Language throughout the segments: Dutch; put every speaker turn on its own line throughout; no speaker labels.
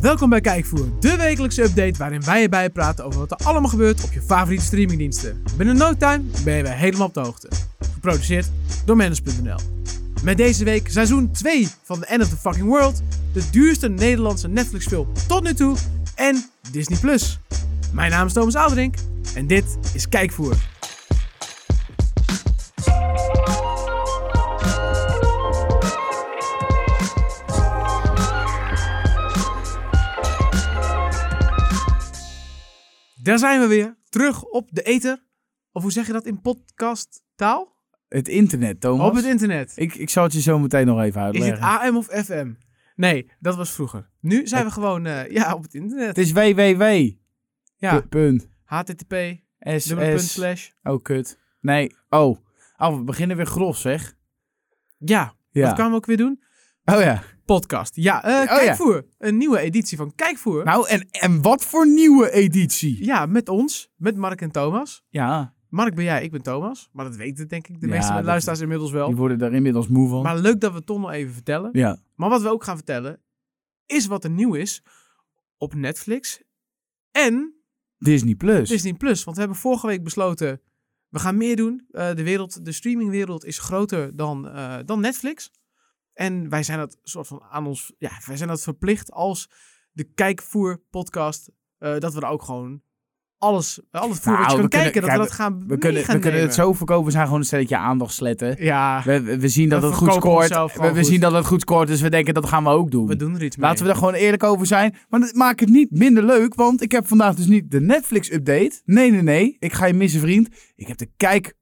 Welkom bij Kijkvoer, de wekelijkse update waarin wij je bijpraten over wat er allemaal gebeurt op je favoriete streamingdiensten. Binnen no time ben je weer helemaal op de hoogte. Geproduceerd door Manus.nl. Met deze week seizoen 2 van The End of the Fucking World, de duurste Nederlandse Netflix film tot nu toe en Disney+. Plus. Mijn naam is Thomas Aldrink en dit is Kijkvoer. Daar zijn we weer, terug op de ether. Of hoe zeg je dat in podcasttaal?
Het internet, Thomas.
Op het internet.
ik, ik zal het je zo meteen nog even
Oh, Is
uitleggen.
het AM of FM? Nee, dat was vroeger. Nu zijn we gewoon eh, ja, op het
het
internet.
is www.
Ja,
P- Punt.
http, dubbele punt,
SS.
slash.
Oh, kut. Nee. Oh. Oh, we beginnen weer grof, zeg.
Ja,
Ja.
wat kwamen we ook weer doen?
Oh ja.
Podcast. Ja, eh,
ja.
Kijkvoer. Een nieuwe editie van Kijkvoer.
Nou, en, en wat voor nieuwe editie?
Ja, met ons, met Mark en Thomas.
Ja.
Mark ben jij, ik ben Thomas. Maar dat weten denk ik de
Ja,
meeste
dat-
luisteraars inmiddels wel.
Die worden daar inmiddels moe van.
Maar leuk dat we het toch nog even vertellen.
ja.
Maar wat we ook gaan vertellen, is wat er nieuw is op Netflix. En
Disney Plus.
Disney Plus. Want we hebben vorige week besloten, we gaan meer doen. Eh, de, wereld, de streamingwereld is groter dan, eh, dan Netflix. En wij zijn dat soort van aan ons. Ja, wij zijn dat verplicht als de kijkvoer podcast. eh, dat we er ook gewoon alles, alles voer wat je kan
Nou, we kunnen-
kijken, dat
kijk,
we dat gaan
We kunnen, we kunnen het zo verkopen. We zijn gewoon een stelletje aandachtsletten.
Ja,
We, we, we zien dat
We
het goed
verkopen
scoort.
onszelf gewoon
We, we
goed.
zien dat het goed scoort, dus we denken dat gaan we ook doen.
we doen er iets mee.
Laten we daar gewoon eerlijk over zijn. Maar dat maakt het niet minder leuk, want ik heb vandaag dus niet de Netflix-update. Nee, nee, nee. Ik ga je missen, vriend. Ik heb de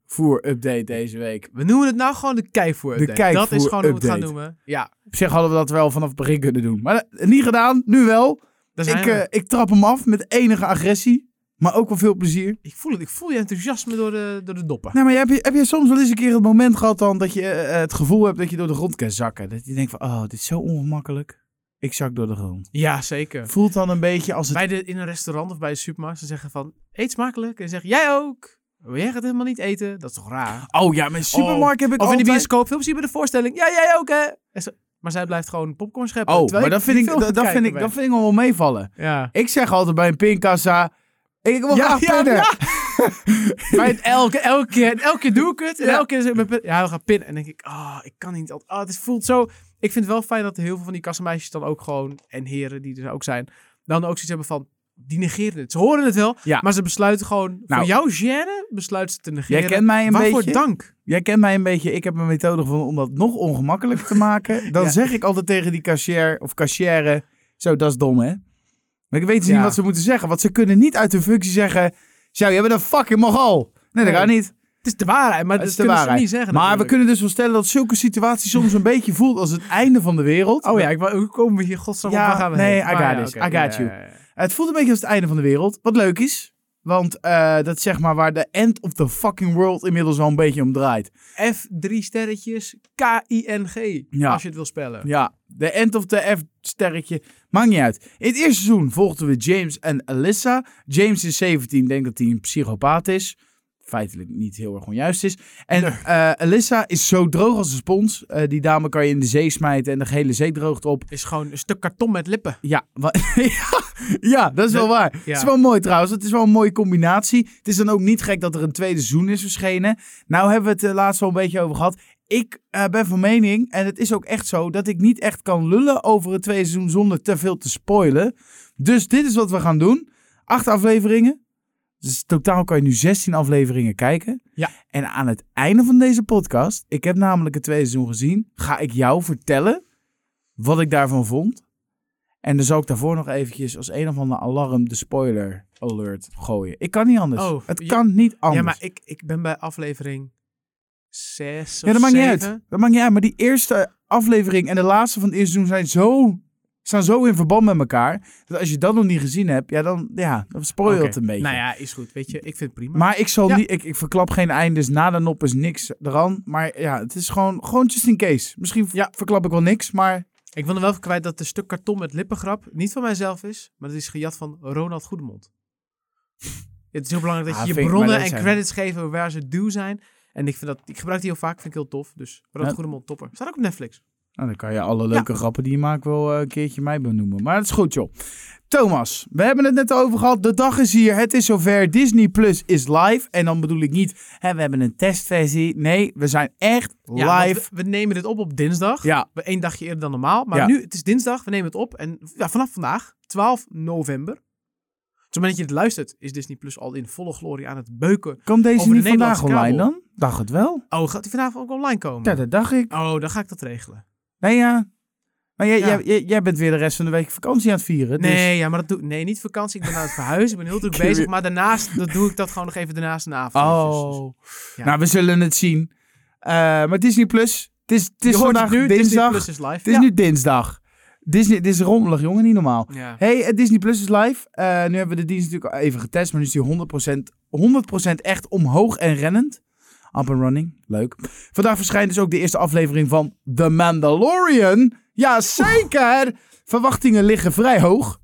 kijkvoer-update deze week.
we noemen het nou gewoon de kijkvoer.
De
update. Dat is
kijkvoer
gewoon hoe we het gaan
update.
noemen. Ja,
Op zich hadden we dat wel vanaf het begin kunnen doen. Maar dat- niet gedaan, nu wel.
daar zijn
Ik,
we.
eh, ik trap hem af met enige agressie, maar ook wel veel plezier.
ik voel het. Ik voel je enthousiasme door de, door de doppen.
Nou, maar heb je, heb je soms wel eens een keer het moment gehad dan dat je eh, het gevoel hebt dat je door de grond kan zakken? Dat je denkt van, oh, dit is zo ongemakkelijk. Ik zak door de grond.
Ja, zeker.
Voelt dan een beetje als het
bij de, in een restaurant of bij de supermarkt. Ze zeggen van, eet smakelijk. En zeggen, jij ook. Maar jij gaat helemaal niet eten. Dat is toch raar?
Oh ja, mijn supermarkt heb ik
of in de
altijd...
bioscoop, veel plezier bij de voorstelling. Ja, jij ook hè. En ze- maar zij blijft gewoon popcorn scheppen.
Oh,
terwijl
maar dat vind,
die
ik,
film
dat, dat
aan het
vind ik,
kijken
dat vind ik wel meevallen.
ben. Ja.
Ik zeg altijd bij een pinkassa, ik wil graag pinnen.
maar het elke, elke, keer, en elke keer doe ik het. En
Ja.
elke keer... is het mijn pin- Ja, we gaan pinnen. En dan denk ik, ah, ik kan niet altijd... Ah, het voelt zo... Ik vind het wel fijn dat heel veel van die kassenmeisjes dan ook gewoon... En heren die er ook zijn... Dan ook zoiets hebben van... Die negeren het. Ze horen het wel,
Ja.
maar ze besluiten gewoon... voor
Nou.
jouw gêne besluiten ze te negeren.
Jij kent mij een
Waarvoor
beetje.
dank?
Jij kent mij een beetje, ik heb een methode gevonden om dat nog ongemakkelijker te maken. Dan
Ja.
zeg ik altijd tegen die cashier of cashière, zo, dat is dom hè. Maar ik weet dus
Ja.
niet wat ze moeten zeggen, want ze kunnen niet uit hun functie zeggen, zo, jij bent een fucking mogol. Nee, dat
Nee.
gaat niet.
Het is de waarheid, maar dat,
Dat is de
kunnen
waarheid.
ze niet zeggen.
maar we
natuurlijk.
kunnen dus wel stellen dat zulke situaties soms een beetje voelt als het einde van de wereld.
Oh ja, ik, wou- hoe komen we hier godsnaam op?
Ja,
Waar gaan we
nee,
heen?
I
Maar
got
ja,
this.
oké,
I got
ja,
you.
ja, ja.
Het voelt een beetje als het einde van de wereld. Wat leuk is. Want eh, dat is zeg maar waar de end of the fucking world inmiddels al een beetje om draait.
F3 sterretjes, K-I-N-G,
Ja.
als je het wil spellen.
Ja, de end of the F-sterretje. Maakt niet uit. In het eerste seizoen volgden we James en Alyssa. James is 17, denkt dat hij een psychopaat is. Feitelijk niet heel erg onjuist is. En eh, Alyssa is zo droog als een spons. Eh, die dame kan je in de zee smijten en de hele zee droogt op.
Is gewoon een stuk karton met lippen.
Ja, wa- ja, ja, dat is wel
De-
waar.
ja.
Het is wel mooi trouwens. Het is wel een mooie combinatie. Het is dan ook niet gek dat er een tweede seizoen is verschenen. Nou hebben we het eh, laatst al een beetje over gehad. Ik eh, ben van mening, en het is ook echt zo, dat ik niet echt kan lullen over het tweede seizoen zonder te veel te spoilen. Dus dit is wat we gaan doen. Acht afleveringen. Dus totaal kan je nu 16 afleveringen kijken.
Ja.
En aan het einde van deze podcast, ik heb namelijk het tweede seizoen gezien, ga ik jou vertellen wat ik daarvan vond. En dan zal ik daarvoor nog eventjes als een of ander alarm de spoiler alert gooien. Ik kan niet anders.
Oh,
het
ja-
kan niet anders.
Ja, maar ik, ik ben bij aflevering 6 of
Ja, dat maakt niet uit.
zeven.
Dat maakt niet uit. Maar die eerste aflevering en de laatste van het eerste seizoen zijn zo, staan zo in verband met elkaar. Dat als je dat nog niet gezien hebt, ja, dan, ja, dan spoil je
Oké.
het een beetje.
Nou ja, is goed. Weet je, ik vind het prima.
Maar ik zal
Ja.
niet, ik, ik verklap geen eindes. Na de nop is niks eraan. Maar ja, het is gewoon, gewoon just in case. Misschien v-
Ja.
verklap ik wel niks, maar
Ik wil er wel even kwijt dat de stuk karton met lippengrap niet van mijzelf is, maar dat is gejat van Ronald Goedemond. het is heel belangrijk dat
Ah,
je
vind
je
ik-
bronnen
maar
en
dat zijn-
credits geven waar ze due zijn. En ik, vind dat, ik gebruik die heel vaak, vind ik heel tof. Dus Ronald
Ja.
Goedemond, topper. Staat ook op Netflix.
Nou, dan kan je alle leuke grappen die je maakt wel eh, een keertje mij benoemen. Maar dat is goed, joh. Thomas, we hebben het net over gehad. De dag is hier. Het is zover. Disney Plus is live. En dan bedoel ik niet, hè, we hebben een testversie. Nee, we zijn echt
Ja, want
live.
we, we nemen dit op op dinsdag.
Ja,
We- Eén dagje eerder dan normaal. Maar
Ja.
nu, het is dinsdag, we nemen het op. En ja, vanaf vandaag, 12 november. Dus op het moment dat je dit luistert, is Disney Plus al in volle glorie aan het beuken.
komt deze
Over de
niet vandaag
Nederlandse
online
kabel.
dan? Dacht het wel.
Oh, gaat die vanavond ook online komen?
Ja, dat dacht ik.
Oh, dan ga ik dat regelen.
Nee, ja. Maar jij,
Ja.
jij- jij, jij bent weer de rest van de week vakantie aan het vieren. dus-
Nee, ja, maar dat doe Nee, niet vakantie. Ik ben aan het verhuizen. Ik ben heel druk
Kun je-
bezig. Maar daarnaast dat doe ik dat gewoon nog even daarnaast een avond. Dus-
Oh.
Ja.
Nou, we zullen het zien. Eh, maar Disney Plus. Het is, het is vandaag
nu,
dinsdag.
Disney Plus is live.
Het is
ja.
nu dinsdag. Disney, het is rommelig, jongen, niet normaal.
Ja.
Hey, eh, Disney Plus is live. Eh, nu hebben we de dienst natuurlijk al even getest, maar nu is die 100%, 100 echt omhoog en rennend. Up and running, leuk. Vandaag verschijnt dus ook de eerste aflevering van The Mandalorian. Jazeker! Verwachtingen liggen vrij hoog.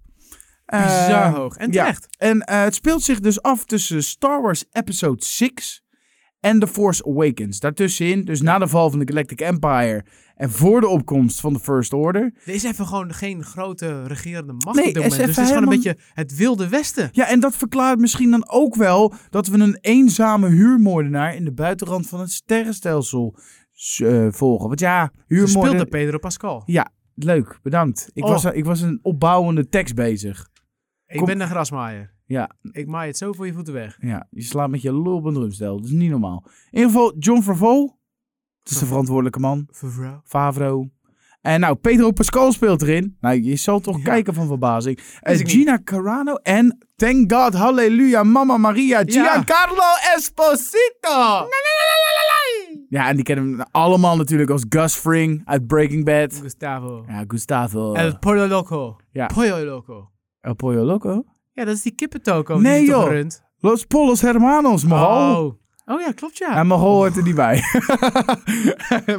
Eh,
Bizar hoog. En
ja.
terecht.
En eh, het speelt zich dus af tussen Star Wars Episode 6 en The Force Awakens. Daartussenin, dus na de val van de Galactic Empire en voor de opkomst van de First Order,
Er is even gewoon geen grote regerende macht
Nee,
op dit
er is
moment. Dus het
even
is gewoon een
helemaal-
beetje het wilde westen.
Ja, en dat verklaart misschien dan ook wel dat we een eenzame huurmoordenaar in de buitenrand van het sterrenstelsel s- eh, volgen. Want ja,
Gespeeld door
huurmoorden...
Pedro Pascal.
Leuk, bedankt. Ik,
Oh.
was, ik was een opbouwende tekst bezig.
Ik
Kom-
ben een grasmaaier.
Ja.
Ik maai het zo voor je voeten weg.
Ja, je slaat met je lul op een drumstel. Dat is niet normaal. In ieder geval, John Favreau. Dat is de verantwoordelijke man.
Favreau.
Favreau. En nou, Pedro Pascal speelt erin. Nou, je zal toch
Ja.
kijken van verbazing. Eh,
Wist ik niet.
Gina Carano en, thank God, halleluja, Mama Maria, Giancarlo Esposito. Ja, en die kennen hem allemaal natuurlijk als Gus Fring uit Breaking Bad.
Gustavo.
Ja, Gustavo.
El Pollo Loco.
Ja.
Pollo Loco.
El Pollo Loco.
Ja, dat is die kippentoko
Nee,
die ze toch
joh.
runt.
Los Polos Hermanos, man.
Oh. Oh ja, klopt ja.
En Mahal hoort er niet bij.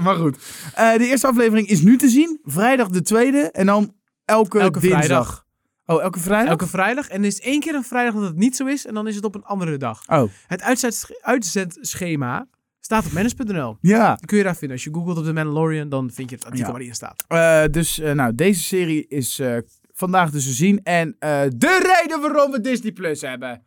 maar goed. Eh, de eerste aflevering is nu te zien. Vrijdag de tweede. En dan elke,
Elke
dinsdag.
vrijdag.
Oh, elke vrijdag?
Elke vrijdag. En er is één keer een vrijdag dat het niet zo is. En dan is het op een andere dag.
Oh,
Het uitzet- uitzendschema staat op manage.nl.
ja.
Dat kun je daar vinden. Als je googelt op de Mandalorian, dan vind je het artikel
Ja.
waar die in staat.
Eh, dus eh, nou, deze serie is eh, vandaag dus te zien. En eh, de reden waarom we Disney Plus hebben.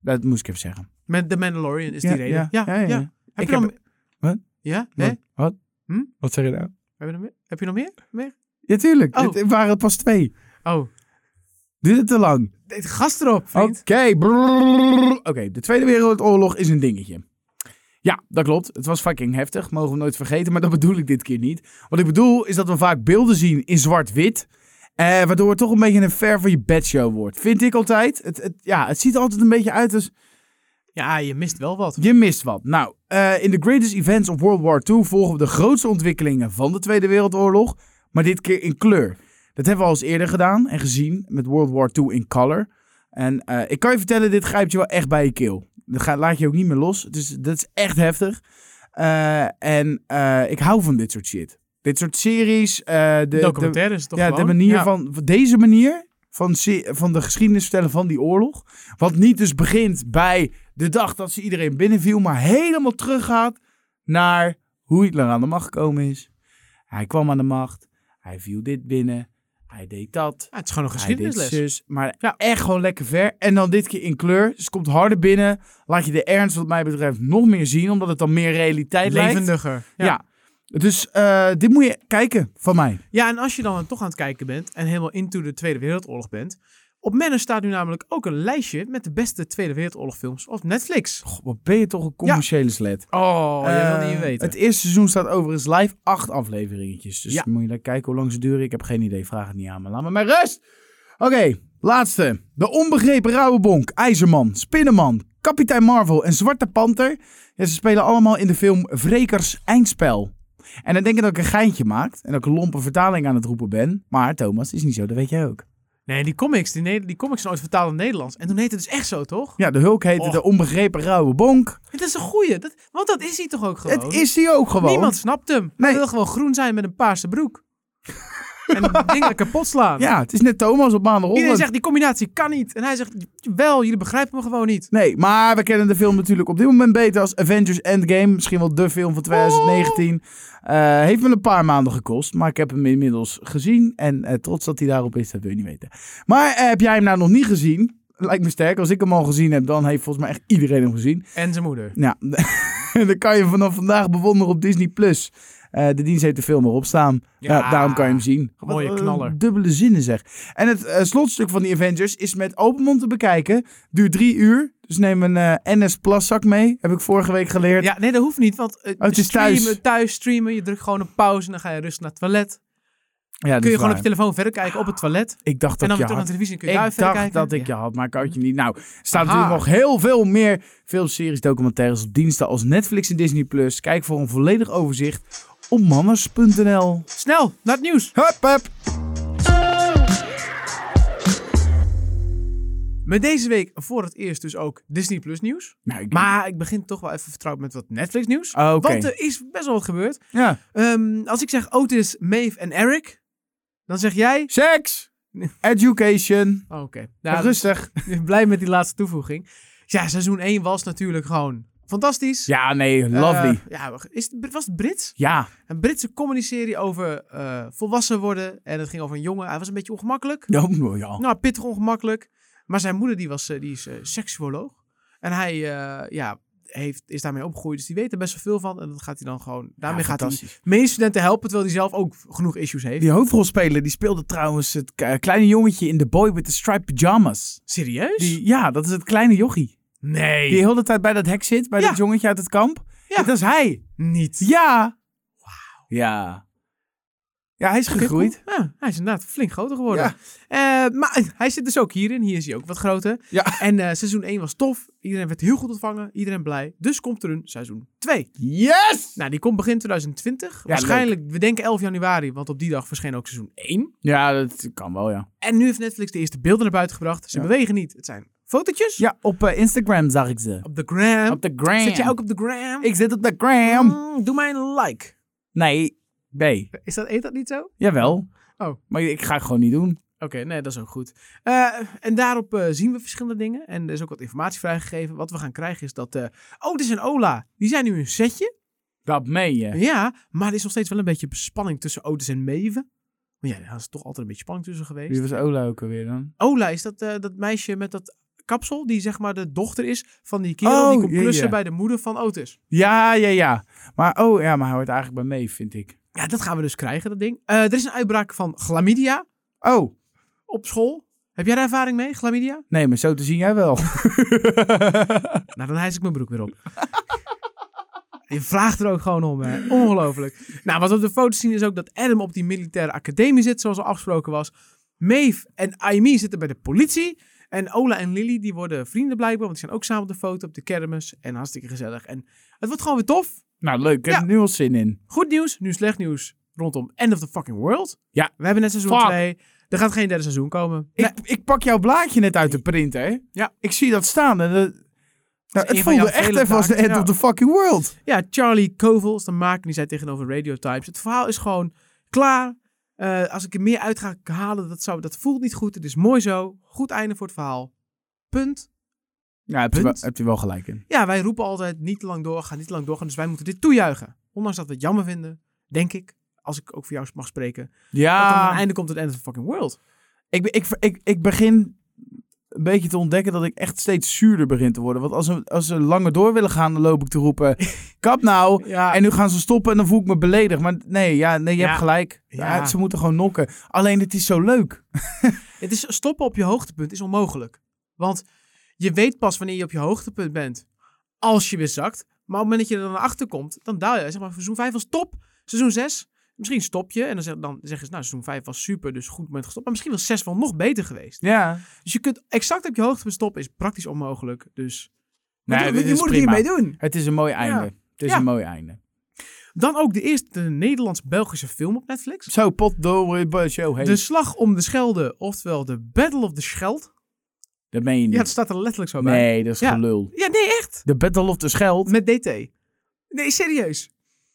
Dat moest ik even zeggen.
Met de Mandalorian is
Ja,
die reden.
ja, ja, ja, ja.
Heb
Ik
je nog
heb-
me-
Wat?
Ja? Nee?
Wat?
Hm?
Wat zeg je nou?
Heb je nog meer? Heb je nog meer? meer?
Ja, tuurlijk.
Oh.
Het waren er pas twee.
Oh,
Duurde het te lang?
dit gast erop,
Oké,
vriend.
brrrr. Oké, de Tweede Wereldoorlog is een dingetje. Ja, dat klopt. Het was fucking heftig, mogen we nooit vergeten, maar dat bedoel ik dit keer niet. Wat ik bedoel is dat we vaak beelden zien in zwart-wit, eh, waardoor het toch een beetje een ver van je bedshow wordt. Vind ik altijd. Het, het, ja, het ziet er altijd een beetje uit als
Ja, je mist wel wat.
je mist wat. Nou, eh, in de greatest events of World War II volgen we de grootste ontwikkelingen van de Tweede Wereldoorlog, maar dit keer in kleur. Dat hebben we al eens eerder gedaan en gezien met World War II in color. En eh, ik kan je vertellen, dit grijpt je wel echt bij je keel. Dat ga- laat je ook niet meer los. Dus dat is echt heftig. Eh, en eh, ik hou van dit soort shit. Dit soort series. eh, de, de-
Documentaire is het toch
ja,
gewoon?
de manier
Ja.
van van deze manier van, se- van de geschiedenis vertellen van die oorlog. Wat niet dus begint bij de dag dat ze iedereen binnenviel, maar helemaal teruggaat naar hoe Hitler aan de macht gekomen is. Hij kwam aan de macht, hij viel dit binnen, hij deed dat.
Ja, het is gewoon een
Hij eh, deed
geschiedenisles.
zus, maar
Ja.
echt gewoon lekker ver. En dan dit keer in kleur. Dus het komt harder binnen. Laat je de ernst wat mij betreft nog meer zien. Omdat het dan meer realiteit lijkt.
Levendiger.
Ja. Dus eh, dit moet je kijken van mij.
Ja, en als je dan toch aan het kijken bent en helemaal into de Tweede Wereldoorlog bent. Op Manner staat nu namelijk ook een lijstje met de beste Tweede Wereldoorlogfilms op Netflix.
Goh, wat ben je toch een commerciële sled.
Oh,
Eh, Het eerste seizoen staat overigens live acht afleveringetjes. Dus
Ja.
moet je daar kijken hoe lang ze duren. Ik heb geen idee. Vraag het niet aan me. Laat me maar rust. Oké, laatste. De onbegrepen rauwe bonk, IJzerman, Spinnenman, Kapitein Marvel en Zwarte Panter. Ja, ze spelen allemaal in de film Vrekers Eindspel. En dan denk ik dat ik een geintje maak en dat ik een lompe vertaling aan het roepen ben. Maar Thomas, is niet zo, dat weet jij ook.
Nee, die comics, die, ne- die comics zijn ooit vertaald in het Nederlands. En toen heette het dus echt zo, toch?
Ja, de Hulk heette
Och.
de onbegrepen rauwe bonk.
Het is een goeie. Dat, want dat is hij toch ook gewoon?
Het is die ook gewoon.
Niemand snapt hem.
Nee.
Hij wil gewoon groen zijn met een paarse broek. en dingen kapot slaan.
Ja, het is net Thomas op
Iedereen
maandagochtend.
zegt, die combinatie kan niet. En hij zegt, wel, jullie begrijpen me gewoon niet.
Nee, maar we kennen de film natuurlijk op dit moment beter als Avengers Endgame. Misschien wel de film van 2019. Eh, heeft me een paar maanden gekost, maar ik heb hem inmiddels gezien. En eh, trots dat hij daarop is, dat wil je niet weten. Maar eh, heb jij hem nou nog niet gezien? Lijkt me sterk. Als ik hem al gezien heb, dan heeft volgens mij echt iedereen hem gezien.
En zijn moeder.
Ja, dan kan je hem vanaf vandaag bewonderen op Disney+. Plus. Eh, de dienst heeft de film erop staan. Ja, daarom kan je hem zien.
Mooie
Wat, eh,
knaller.
Dubbele zinnen zeg. En het eh, slotstuk van die Avengers is met open mond te bekijken. Duurt drie uur. Dus neem een eh, NS Plus zak mee. Heb ik vorige week geleerd.
Ja, nee, dat hoeft niet, want eh,
Oh, het is thuis.
streamen, thuis streamen, je drukt gewoon een pauze en dan ga je rustig naar het toilet.
Ja, dat
kun
is
je gewoon op
waar.
je telefoon verder kijken op het toilet.
Ik dacht
en dan
dat
weer
je
terug naar
had.
de televisie en kun je
Ik
daar
dacht
verder kijken.
dat ik je had, maar ik had je niet. Nou, er staan
Aha.
natuurlijk nog heel veel meer films, series, documentaires op diensten als Netflix en Disney+. Plus. Kijk voor een volledig overzicht op manners.nl.
Snel, naar het nieuws.
Hup, hup.
Met deze week voor het eerst dus ook Disney Plus nieuws.
Nou, ik-
Maar ik begin toch wel even vertrouwd met wat Netflix nieuws.
Oh, Oké.
Want er is best wel wat gebeurd.
Ja.
Ehm, als ik zeg Otis, Maeve en Eric, dan zeg jij...
Seks. Education.
Oh, Oké, Nou,
Rustig.
blij met die laatste toevoeging. Ja, seizoen 1 was natuurlijk gewoon fantastisch.
Ja, nee, lovely.
Eh, ja, is, het- was het Brits?
ja,
Een Britse comedy-serie over eh, volwassen worden. En het ging over een jongen. Hij was een beetje ongemakkelijk.
ja, nou ja.
Nou, pittig ongemakkelijk. Maar zijn moeder die was, eh, die is eh, seksuoloog. En hij eh, ja, heeft, is daarmee opgegroeid. Dus die weet er best wel veel van. En dat gaat hij dan gewoon... Daarmee gaat hij
fantastisch.
medestudenten helpen. Terwijl hij zelf ook genoeg issues heeft.
Die hoofdrolspeler die speelde trouwens het k- kleine jongetje in The Boy with the Striped Pajamas.
Serieus?
Die, ja, dat is het kleine jochie.
Nee.
Die de hele tijd bij dat hek zit, bij
Ja.
dat jongetje uit het kamp.
Ja.
Dat is hij.
Niet.
Ja. Ja. Ja, hij is gegroeid.
Ja, hij is inderdaad flink groter geworden.
Ja.
Eh, maar hij zit dus ook hierin. Hier is hij ook wat groter.
Ja.
En eh, seizoen 1 was tof. Iedereen werd heel goed ontvangen. Iedereen blij. Dus komt er een seizoen 2.
Yes!
Nou, die komt begin 2020. Waarschijnlijk, we denken 11 januari, want op die dag verscheen ook seizoen 1.
Ja, dat kan wel, ja.
En nu heeft Netflix de eerste beelden naar buiten gebracht. Ze
Ja.
bewegen niet. Het zijn fotootjes.
Ja, op eh, Instagram zag ik ze.
Op de gram.
Op de gram.
Zit jij ook op de gram?
Ik zit op de gram.
Mm, doe mij een like.
Nee. Nee.
Is dat, heet dat niet zo? Oké,
Jawel.
Oh.
Maar ik ga het gewoon niet doen.
nee, dat is ook goed. Eh, en daarop eh, zien we verschillende dingen. En er is ook wat informatie vrijgegeven. Wat we gaan krijgen is dat... eh Otis en Ola, die zijn nu een setje.
Dat meen je.
Ja, maar er is nog steeds wel een beetje spanning tussen Otis en Maeve. Maar ja, daar is toch altijd een beetje spanning tussen geweest.
Wie was Ola ook alweer dan?
Ola is dat, eh, dat meisje met dat kapsel, die zeg maar de dochter is van die kerel die
Oh,
komt
ja,
klussen
ja.
bij de moeder van Otis.
Ja, ja, ja. Maar oh ja, maar hij hoort eigenlijk bij mee, vind ik.
Ja, dat gaan we dus krijgen, dat ding. Eh, er is een uitbraak van chlamydia
Oh,
op school. Heb jij daar ervaring mee, chlamydia?
nee, maar zo te zien jij wel.
Nou, dan hijs ik mijn broek weer op. Je vraagt er ook gewoon om, hè. Ongelooflijk. Nou, wat we op de foto zien is ook dat Adam op die militaire academie zit, zoals al afgesproken was. Maeve en Amy zitten bij de politie. En Ola en Lily, die worden vrienden blijkbaar, want die zijn ook samen op de foto op de kermis. En hartstikke gezellig. En het wordt gewoon weer tof.
nou, leuk. Ik heb
Ja.
er nu al zin in.
Goed nieuws, nu slecht nieuws rondom End of the fucking world.
Ja.
We hebben net seizoen
Fuck.
2. Er gaat geen derde seizoen komen. Nee,
Ik, ik pak jouw blaadje net uit de printer.
Ja.
Ik zie dat staan. En dat- nou,
een
het
van
voelde
jouw
echt
vele
even als de
taken,
end
ja.
of the fucking world.
Ja, Charlie Kovel is de maker. Die zei tegenover Radio Times. Het verhaal is gewoon klaar. Eh, als ik er meer uit ga halen, dat, zou, dat voelt niet goed. Het is mooi zo. Goed einde voor het verhaal. Punt.
Ja, heb je, wel,
Punt.
heb je wel gelijk in.
Ja, wij roepen altijd niet te lang doorgaan, niet te lang doorgaan. Dus wij moeten dit toejuichen. Ondanks dat we het jammer vinden, denk ik, als ik ook voor jou mag spreken. Dat er een
Ja,
einde komt tot het end of the fucking world.
ik, be- ik, ik, ik begin een beetje te ontdekken dat ik echt steeds zuurder begin te worden. Want als ze, als ze langer door willen gaan, dan loop ik te roepen... Kap nou,
Ja,
En nu gaan ze stoppen en dan voel ik me beledigd. Maar nee, ja, nee je
Ja.
hebt gelijk.
Ja.
Ja, ze moeten gewoon nokken. Alleen het is zo leuk.
Het is stoppen op je hoogtepunt is onmogelijk. Want je weet pas wanneer je op je hoogtepunt bent. Als je weer zakt. Maar op het moment dat je er dan naar achter komt, dan daal je. Zeg maar, seizoen 5 was top. Seizoen 6, misschien stop je. En dan, zeg, dan zeggen ze, nou, seizoen 5 was super, dus goed moment gestopt. Maar misschien was 6 wel nog beter geweest.
Ja.
Dus je kunt exact op je hoogtepunt stoppen, is praktisch onmogelijk. Dus
Nee,
je,
dit
je moet
is
het
prima.
hiermee doen.
Het is een mooi einde. Het is
Ja.
een mooi einde.
Dan ook de eerste Nederlands-Belgische film op Netflix.
Zo, potdorie, show. Hey.
De
Dus,
Slag om de Schelde, oftewel de Battle of the Scheld.
dat meen je niet.
Ja, het staat er letterlijk zo bij.
nee, dat is
Ja.
gelul.
Ja, nee, echt.
De Battle of the Scheld.
Met DT. Nee, serieus.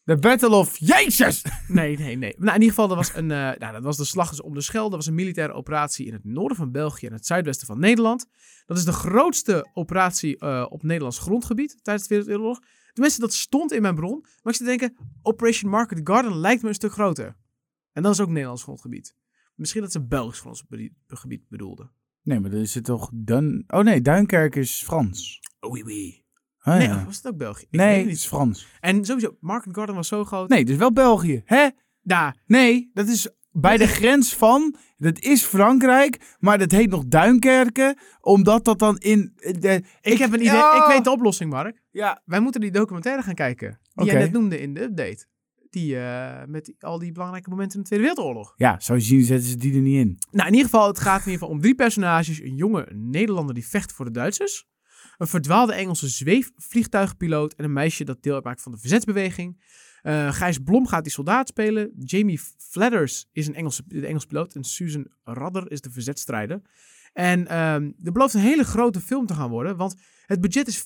The Battle of Jezus!
Nee, nee, nee. Nou, in ieder geval, dat was, een, eh, nou, dat was de Slag om de Schelde. Dat was een militaire operatie in het noorden van België en het zuidwesten van Nederland. Dat is de grootste operatie eh, op Nederlands grondgebied tijdens de Wereldoorlog. Tenminste, dat stond in mijn bron. Maar ik zit te denken, Operation Market Garden lijkt me een stuk groter. En dat is ook Nederlands grondgebied. Misschien dat ze Belgisch grondgebied bedoelden.
Nee, maar er zit toch Dun... Oh nee, Duinkerk is Frans.
Oei, oei.
Ah,
Nee,
ja.
was het ook België? Ik
nee,
weet
het
het
is
niet.
Frans.
En sowieso, Market Garden was zo groot.
Nee, dus wel België. Hè?
Daar,
Nee, dat is bij de grens van. Dat is Frankrijk, maar dat heet nog Duinkerken, omdat dat dan in. eh, De,
ik, heb een idee.
Ja.
Ik weet de oplossing, Mark.
Ja,
Wij moeten die documentaire gaan kijken. Die
Oké.
jij net noemde in de update. Die eh, met die- al die belangrijke momenten in de Tweede Wereldoorlog.
ja zou je zien, zetten ze die er niet in.
Nou, in ieder geval, het gaat in ieder geval om drie personages. Een jonge Nederlander die vecht voor de Duitsers. Een verdwaalde Engelse zweefvliegtuigpiloot. En een meisje dat deel uitmaakt van de verzetsbeweging. Eh Gijs Blom gaat die soldaat spelen. Jamie Fladders is een Engelse, de Engelse piloot. En Susan Radder is de verzetstrijder. En ehm er belooft een hele grote film te gaan worden. Want het budget is 15,5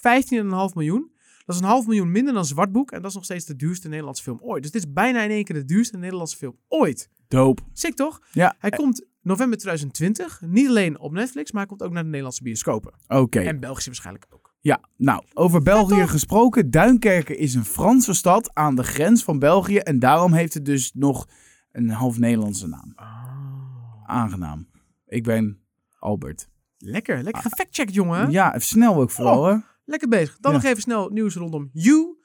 miljoen. Dat is een half miljoen minder dan Zwartboek. En dat is nog steeds de duurste Nederlandse film ooit. Dus dit is bijna in één keer de duurste Nederlandse film ooit.
Doop.
Sick toch?
Ja,
Hij komt november 2020, niet alleen op Netflix, maar hij komt ook naar de Nederlandse bioscopen.
oké.
En Belgische waarschijnlijk ook.
Ja, nou, over België gesproken. Duinkerken is een Franse stad aan de grens van België. En daarom heeft het dus nog een half Nederlandse naam. Oh. Aangenaam. Ik ben Albert.
Lekker, lekker gefactcheckt, jongen.
Ah. Ja, even snel ook vooral,
Oh.
hè?
Lekker bezig. Dan
Ja.
nog even snel nieuws rondom You.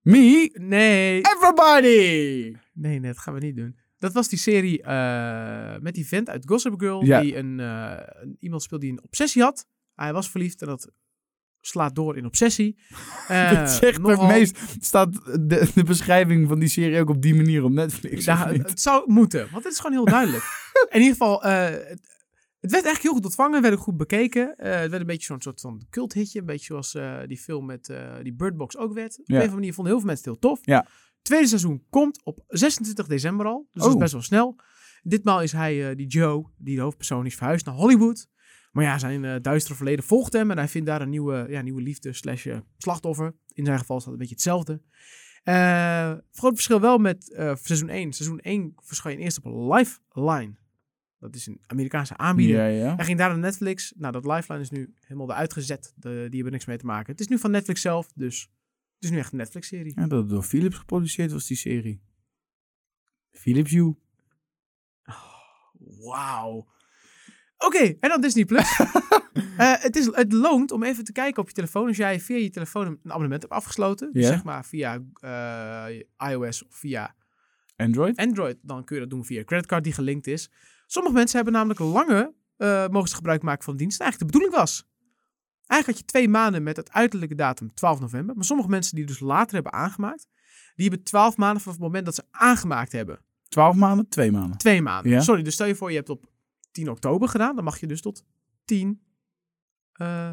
Me,
Nee,
Ah. everybody!
nee, nee, dat gaan we niet doen. Dat was die serie eh, met die vent uit Gossip Girl,
Ja.
die een, eh, een- iemand speelde die een obsessie had. Hij was verliefd en dat slaat door in obsessie. Eh,
Dit zegt
nogal-
het meest. Staat de, de beschrijving van die serie ook op die manier op Netflix?
Ja,
of
het,
niet?
het zou moeten, want het is gewoon heel duidelijk. in ieder geval, eh, het, het werd eigenlijk heel goed ontvangen, werd ook goed bekeken. Eh, het werd een beetje zo'n soort van culthitje, een beetje zoals eh, die film met eh, die Bird Box ook werd. Op een of andere manier vonden heel veel mensen het heel tof.
Ja.
Tweede seizoen komt op 26 december al, dus dat
Oh.
is best wel snel. Ditmaal is hij, eh, die Joe, die de hoofdpersoon is, verhuisd naar Hollywood. Maar ja, zijn eh, duistere verleden volgt hem en hij vindt daar een nieuwe, ja, nieuwe liefde slash eh, slachtoffer. In zijn geval is dat een beetje hetzelfde. Eh, groot verschil wel met eh, seizoen 1. Seizoen 1 verscheen eerst op Lifeline. Dat is een Amerikaanse aanbieder.
Ja, ja.
Hij ging daar naar Netflix. Nou, dat Lifeline is nu helemaal eruit gezet. De, die hebben niks mee te maken. Het is nu van Netflix zelf, dus het is nu echt een Netflix-serie.
Ja, dat door Philips geproduceerd was die serie. Philips U.
Oh, Wauw. Oké, en dan Disney Plus. Eh, het, is, het loont om even te kijken op je telefoon. Als jij via je telefoon een abonnement hebt afgesloten, dus
Ja.
zeg maar via eh, iOS of via
Android?
Android, dan kun je dat doen via een creditcard die gelinkt is. Sommige mensen hebben namelijk langer eh mogen ze gebruik maken van de dienst dan eigenlijk de bedoeling was. Eigenlijk had je twee maanden met het uiterlijke datum 12 november. Maar sommige mensen die dus later hebben aangemaakt, die hebben 12 maanden vanaf het moment dat ze aangemaakt hebben.
Twaalf maanden? Twee maanden.
Twee maanden.
Ja.
Sorry, dus stel je voor, je hebt op 10 oktober gedaan. Dan mag je dus tot 10. eh,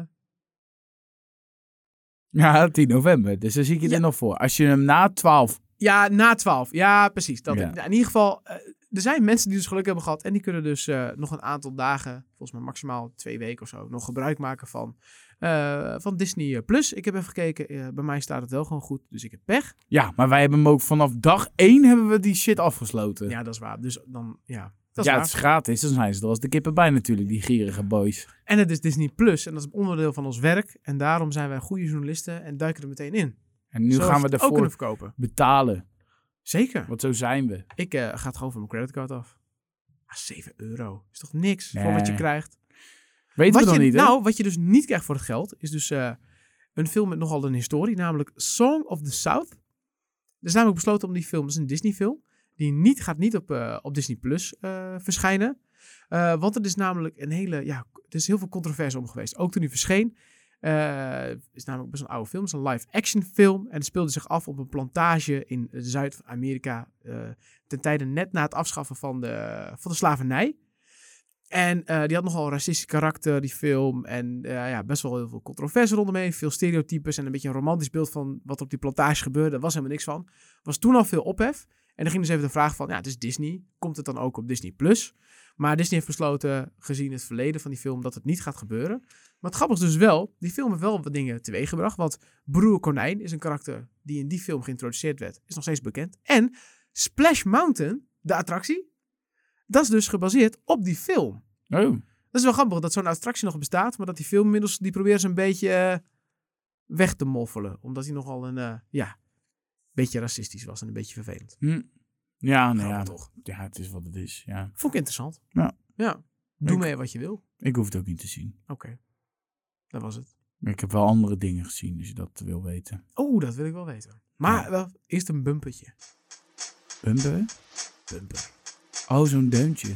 Ja, 10 november. Dus daar zie ik je
Ja.
er nog voor. Als je hem na 12.
ja, na 12. Ja, precies. Dat
Ja.
Nou, In ieder geval, eh, er zijn mensen die dus geluk hebben gehad. En die kunnen dus eh, nog een aantal dagen, volgens mij maximaal twee weken of zo, nog gebruik maken van, eh, van Disney Plus. Ik heb even gekeken. eh, bij mij staat het wel gewoon goed. Dus ik heb pech.
Ja, maar wij hebben hem ook vanaf dag 1 hebben we die shit afgesloten.
Ja, dat is waar. Dus dan, ja. Dat is
Ja,
waar.
het is gratis. Dan zijn ze er als de kippen bij natuurlijk, die gierige boys.
En het is Disney Plus. En dat is onderdeel van ons werk. En daarom zijn wij goede journalisten en duiken er meteen in.
En nu
Zodat
gaan we
het ook
ervoor
kunnen verkopen.
betalen.
Zeker.
Want zo zijn we.
Ik eh, ga het gewoon van mijn creditcard af. Ah, 7 euro. Is toch niks voor
Nee.
wat je krijgt?
Weten
Wat
we dan
je,
niet, hè?
nou, wat je dus niet krijgt voor het geld, is dus eh, een film met nogal een historie, namelijk Song of the South. Er is namelijk besloten om die film, dat is een Disney-film, die niet, gaat niet op, eh, op Disney Plus eh, verschijnen. Eh, want het is namelijk een hele, ja, er is heel veel controverse om geweest. Ook toen hij verscheen. eh, Het is namelijk best een oude film. Het is een live-action film. En het speelde zich af op een plantage in eh, Zuid-Amerika. eh, ten tijde net na het afschaffen van de, van de slavernij. En eh, die had nogal een racistisch karakter, die film. En eh, ja, best wel heel veel controverse rondomheen. Veel stereotypes en een beetje een romantisch beeld van wat er op die plantage gebeurde. Daar was helemaal niks van. Was toen al veel ophef. En dan ging dus even de vraag van, ja, het is Disney. Komt het dan ook op Disney+. Plus? Maar Disney heeft besloten, gezien het verleden van die film, dat het niet gaat gebeuren. Maar het grappige is dus wel, die film heeft wel wat dingen teweeggebracht. Want Broer Konijn is een karakter die in die film geïntroduceerd werd. Is nog steeds bekend. En Splash Mountain, de attractie, dat is dus gebaseerd op die film.
Oh.
Dat is wel grappig dat zo'n attractie nog bestaat, maar dat die film inmiddels, die proberen ze een beetje eh, weg te moffelen. Omdat hij nogal een, eh, ja, beetje racistisch was en een beetje vervelend.
Hm. Ja, nou
Grappig
ja.
toch?
Ja, het is wat het is. Ja.
Vond ik interessant.
Ja.
Ja. Doe
Ik-
mee wat je wil. Oké.
Ik hoef het ook niet te zien.
Dat was het.
Maar ik heb wel andere dingen gezien, als je dat wil weten.
Oh, dat wil ik wel weten. Maar wel, eerst een bumpertje.
Bumper?
Bumper.
Oh, zo'n deuntje.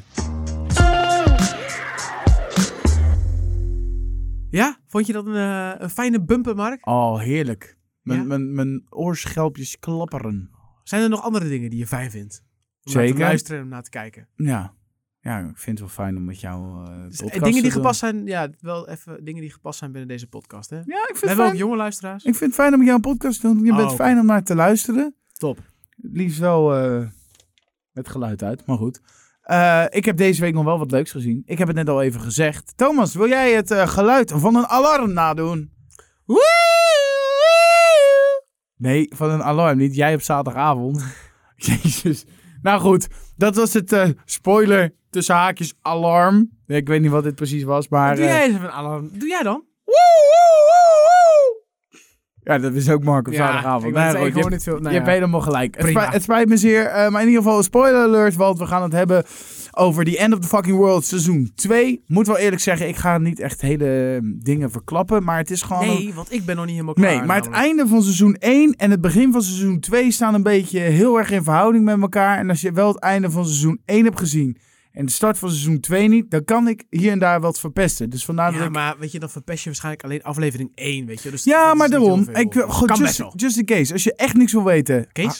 Ja? Vond je dat een, eh, een fijne bumper, Mark?
Oh, heerlijk. Mijn,
Ja?
mijn, mijn oorschelpjes klapperen.
Zijn er nog andere dingen die je fijn vindt? Om naar
Zeker.
te luisteren en om naar te kijken.
Ja. Ja, ik vind het wel fijn om met jou eh
Dus, eh,
podcast
dingen
te
die
doen.
gepast zijn, ja, wel even dingen die gepast zijn binnen deze podcast, hè?
Ja, ik
We
vind, het
hebben ook
fijn.
jonge luisteraars.
ik vind het fijn om met jou een podcast te doen. Je
Oh,
bent
oké.
fijn om naar te luisteren.
Top.
Het Liefst wel eh, met geluid uit, maar goed. Eh, ik heb deze week nog wel wat leuks gezien. Ik heb het net al even gezegd. Thomas, wil jij het eh, geluid van een alarm nadoen? Nee, van een alarm niet. Jij op zaterdagavond. Jezus. Nou goed, dat was het eh, spoiler tussen haakjes alarm. Ik weet niet wat dit precies was, maar...
Doe
eh,
jij eens even een alarm. Doe jij dan?
Ja, dat is ook Mark op zaterdagavond. Nou ja, goed, je hebt-
niet veel.
je hebt helemaal gelijk. Het
Prima.
spijt, het spijt me zeer. eh, maar in ieder geval, spoiler alert. Want we gaan het hebben over The End of the Fucking World seizoen 2. Moet wel eerlijk zeggen, ik ga niet echt hele eh, dingen verklappen. Maar het is gewoon... een-
Nee, want ik ben nog niet helemaal klaar.
Nee, maar het
namelijk.
einde van seizoen 1 en het begin van seizoen 2 staan een beetje heel erg in verhouding met elkaar. En als je wel het einde van seizoen 1 hebt gezien en de start van seizoen 2 niet, dan kan ik hier en daar wat verpesten. Dus vandaar dat
Ja,
ik...
maar weet je, dan verpest je waarschijnlijk alleen aflevering 1, weet je. Dus dat
Ja,
is
maar
niet
daarom.
heel veel.
Ik, gewoon
kan best
just,
wel.
just in case. Als je echt niks wil weten. ha-
Kees? Ah,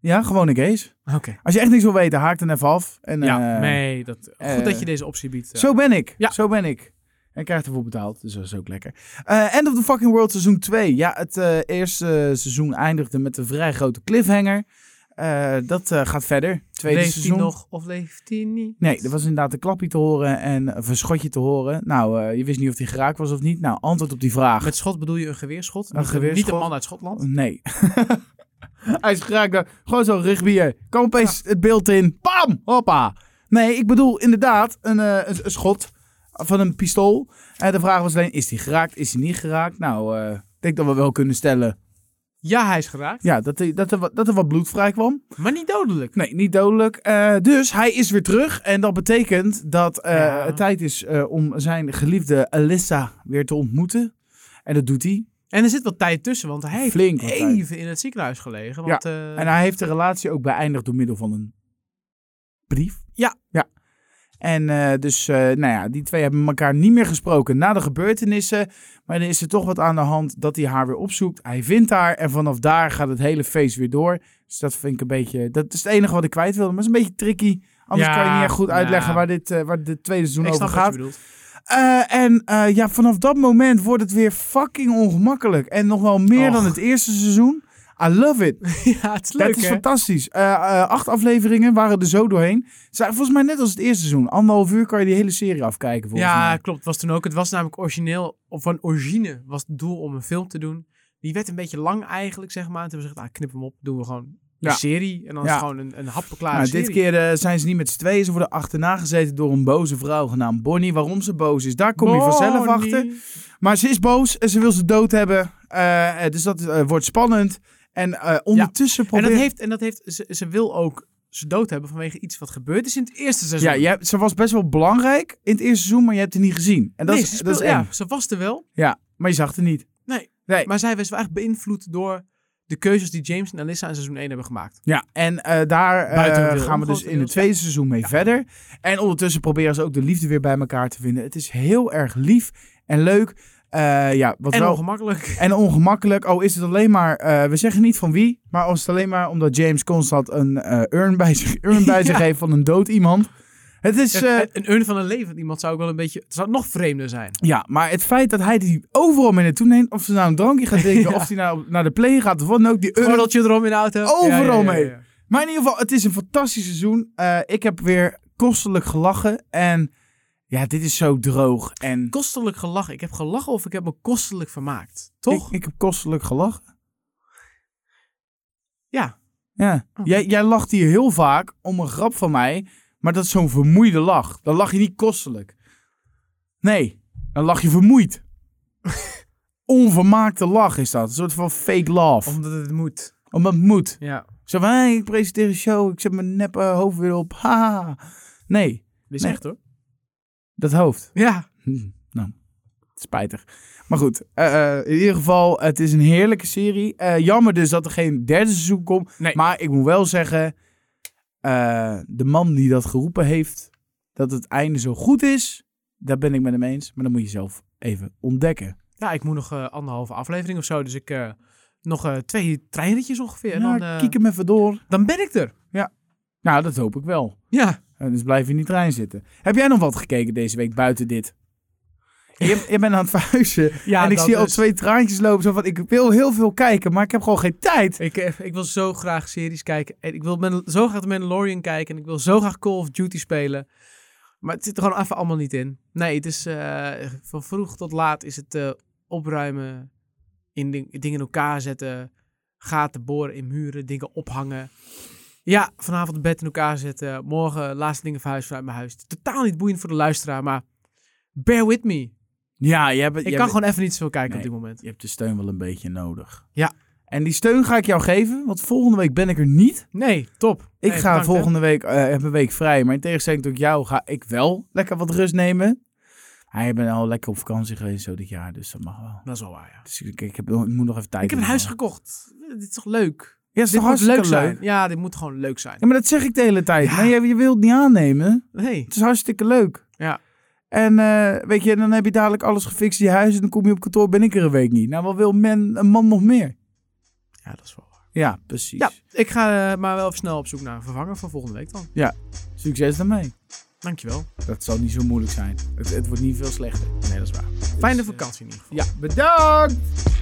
ja, gewoon in case.
Oké.
Als je echt niks wil weten, haak dan even af. En,
ja,
eh,
nee. Dat, goed
eh,
dat je deze optie biedt. eh.
Zo ben ik.
Ja.
Zo ben ik. En krijgt ervoor betaald, dus dat is ook lekker. Eh, End of the fucking world seizoen 2. Ja, het eh, eerste seizoen eindigde met een vrij grote cliffhanger. Eh, dat eh, gaat verder. Tweede
leeft
seizoen.
hij nog of leeft hij niet?
Nee, er was inderdaad een klapje te horen en of een schotje te horen. Nou, eh, je wist niet of die geraakt was of niet. Nou, antwoord op die vraag.
Met schot bedoel je een geweerschot?
Een
Niet Niet
geweerschot.
een man uit Schotland?
Nee. Hij is geraakt. door- Gewoon zo'n rugbier. Kom opeens het beeld in. Bam! Hoppa! Nee, ik bedoel inderdaad een, eh, een, een schot van een pistool. En de vraag was alleen, is die geraakt? Is die niet geraakt? Nou, eh, ik denk dat we wel kunnen stellen
Ja, hij is geraakt.
ja, dat, er- dat, er, wat- dat er wat bloed vrij kwam.
Maar niet dodelijk.
Nee, niet dodelijk. Eh, dus hij is weer terug. En dat betekent dat eh,
Ja.
het tijd is eh, om zijn geliefde Alyssa weer te ontmoeten. En dat doet hij.
En er zit wat tijd tussen, want hij heeft
Flink wat tijd.
even in het ziekenhuis gelegen. Want, eh, ja.
En hij heeft de relatie ook beëindigd door middel van een brief.
Ja.
ja. En eh, dus, eh, nou ja, die twee hebben elkaar niet meer gesproken na de gebeurtenissen. Maar er is er toch wat aan de hand dat hij haar weer opzoekt. Hij vindt haar en vanaf daar gaat het hele feest weer door. Dus dat vind ik een beetje, dat is het enige wat ik kwijt wilde. Maar het is een beetje tricky. Anders
Ja,
kan je niet echt goed
ja.
uitleggen waar dit, eh, waar dit tweede seizoen
ik
over
snap wat je
gaat.
bedoelt.
Eh, en eh, ja, vanaf dat moment wordt het weer fucking ongemakkelijk. En nog wel meer
Och.
dan het eerste seizoen. I love it.
ja, het is leuk,
Dat is
hè?
fantastisch. Eh, eh, acht afleveringen waren er zo doorheen. Zijn volgens mij net als het eerste seizoen. Anderhalf uur kan je die hele serie afkijken. Volgens
Ja,
mij.
klopt. Het was toen ook. Het was namelijk origineel, of van origine was het doel om een film te doen. Die werd een beetje lang eigenlijk, zeg maar. En Toen hebben we gezegd, ah, knip hem op, doen we gewoon een
Ja.
serie. En dan is
Ja.
het gewoon een, een hapklaar
Nou,
serie.
dit keer eh, zijn ze niet met z'n tweeën. Ze worden achterna gezeten door een boze vrouw genaamd Bonnie. Waarom ze boos is, daar kom je vanzelf
Bonnie.
achter. Maar ze is boos en ze wil ze dood hebben. Eh, eh, dus dat eh, wordt spannend. En eh, ondertussen
En
probeert...
dat heeft, en dat heeft ze, ze wil ook ze dood hebben vanwege iets wat gebeurd is in het eerste seizoen.
Ja, je hebt- ze was best wel belangrijk in het eerste seizoen, maar je hebt het niet gezien. En dat
Nee,
is,
ze
dat is
speel- ja,
eng.
ze was er wel,
Ja, maar je zag het niet.
Nee.
nee.
maar zij was wel echt beïnvloed door de keuzes die James en Alyssa in seizoen 1 hebben gemaakt.
Ja, en eh, daar eh,
Buitengewoon,
gaan we dus in het
grotendeels,
tweede seizoen mee verder. En ondertussen proberen ze ook de liefde weer bij elkaar te vinden. Het is heel erg lief en leuk. Eh, ja, wat
en
wel.
ongemakkelijk.
en ongemakkelijk. Oh, is het alleen maar. eh, we zeggen niet van wie. Maar als het alleen maar omdat James constant een eh, urn bij zich, urn bij zich
Ja.
heeft van een dood iemand. Het is. eh,
een een urn van een levend iemand zou ook wel een beetje... Het zou nog vreemder zijn.
ja, maar het feit dat hij die overal mee naartoe neemt. Of ze nou een drankje gaat drinken.
Ja.
Of hij nou naar de play gaat. Of wat dan ook. Die urn
Gordeltje erom in de auto.
Overal mee. Maar in ieder geval, het is een fantastisch seizoen. Eh, ik heb weer kostelijk gelachen. En ja, dit is zo droog. En
Kostelijk gelachen. Ik heb gelachen of ik heb me kostelijk vermaakt. Toch?
Ik, ik heb kostelijk gelachen.
Ja.
Ja.
Oh.
Jij, jij lacht hier heel vaak om een grap van mij. Maar dat is zo'n vermoeide lach. Dan lach je niet kostelijk. Nee, dan lach je vermoeid. Onvermaakte lach is dat. Een soort van fake love.
Omdat het moet.
Omdat het moet.
Ja.
Zo van, hey, ik presenteer een show, ik zet mijn nep eh, hoofd weer op. Haha. Nee,
Dit is
Nee.
echt hoor.
dat hoofd.
Ja.
Hm, nou, spijtig. Maar goed, eh, eh, in ieder geval, het is een heerlijke serie. Eh, jammer dus dat er geen derde seizoen komt.
Nee.
Maar ik moet wel zeggen, eh, de man die dat geroepen heeft, dat het einde zo goed is, daar ben ik met hem eens. Maar dat moet je zelf even ontdekken.
Ja, ik moet nog eh, anderhalve aflevering of zo. Dus ik... eh, nog eh, twee treinritjes ongeveer. En
nou,
dan, eh,
kiek hem even door.
dan ben ik er.
Nou, dat hoop ik wel.
Ja.
En dus blijf je in die trein zitten. Heb jij nog wat gekeken deze week buiten dit? Je, je bent aan het verhuizen.
ja
en ik
dat
zie al
dus.
twee traantjes lopen. Zo van, ik wil heel veel kijken, maar ik heb gewoon geen tijd.
Ik, eh, ik wil zo graag series kijken. En ik wil Man- zo graag de Mandalorian kijken. En ik wil zo graag Call of Duty spelen. Maar het zit er gewoon even allemaal niet in. Nee, het is eh, van vroeg tot laat is het eh, opruimen. In ding- dingen in elkaar zetten. Gaten boren in muren. Dingen ophangen. Ja, vanavond het bed in elkaar zetten. Morgen laatste dingen verhuizen vanuit mijn huis. Totaal niet boeiend voor de luisteraar, maar bear with me. Ik
Ja, je hebt, je,
kan
hebt,
gewoon even niet zoveel kijken
Nee.
op dit moment.
je hebt de steun wel een beetje nodig.
Ja.
En die steun ga ik jou geven, want volgende week ben ik er niet.
Nee, top. Nee,
Ik ga
bedankt, hè.
volgende week, eh, heb een week vrij. Maar in tegenstelling tot jou ga ik wel lekker wat rust nemen. Hij ben al lekker op vakantie geweest zo dit jaar, dus dat mag wel.
Dat is wel waar, ja.
Dus ik, ik, heb, ik moet nog even tijd
Ik heb een
inhalen.
huis gekocht. Dit is toch leuk?
Ja, is
dit
toch
moet
hartstikke
leuk zijn. Ja, dit moet gewoon leuk zijn.
Ja, maar dat zeg ik de hele tijd.
Ja.
Maar je, je wilt het niet aannemen.
Nee.
Het is hartstikke leuk.
Ja.
En eh, weet je, dan heb je dadelijk alles gefixt in je huis en dan kom je op kantoor, ben ik er een week niet. Nou, wat wil men, een man nog meer?
Ja, dat is wel waar.
Ja, precies.
Ja, ik ga eh, maar wel even snel op zoek naar een vervanger voor volgende week dan.
Succes daarmee.
Dankjewel.
Dat zal niet zo moeilijk zijn. Het, het wordt niet veel slechter.
Nee, dat is waar.
Dus,
Fijne
eh,
vakantie in ieder geval.
Ja, bedankt!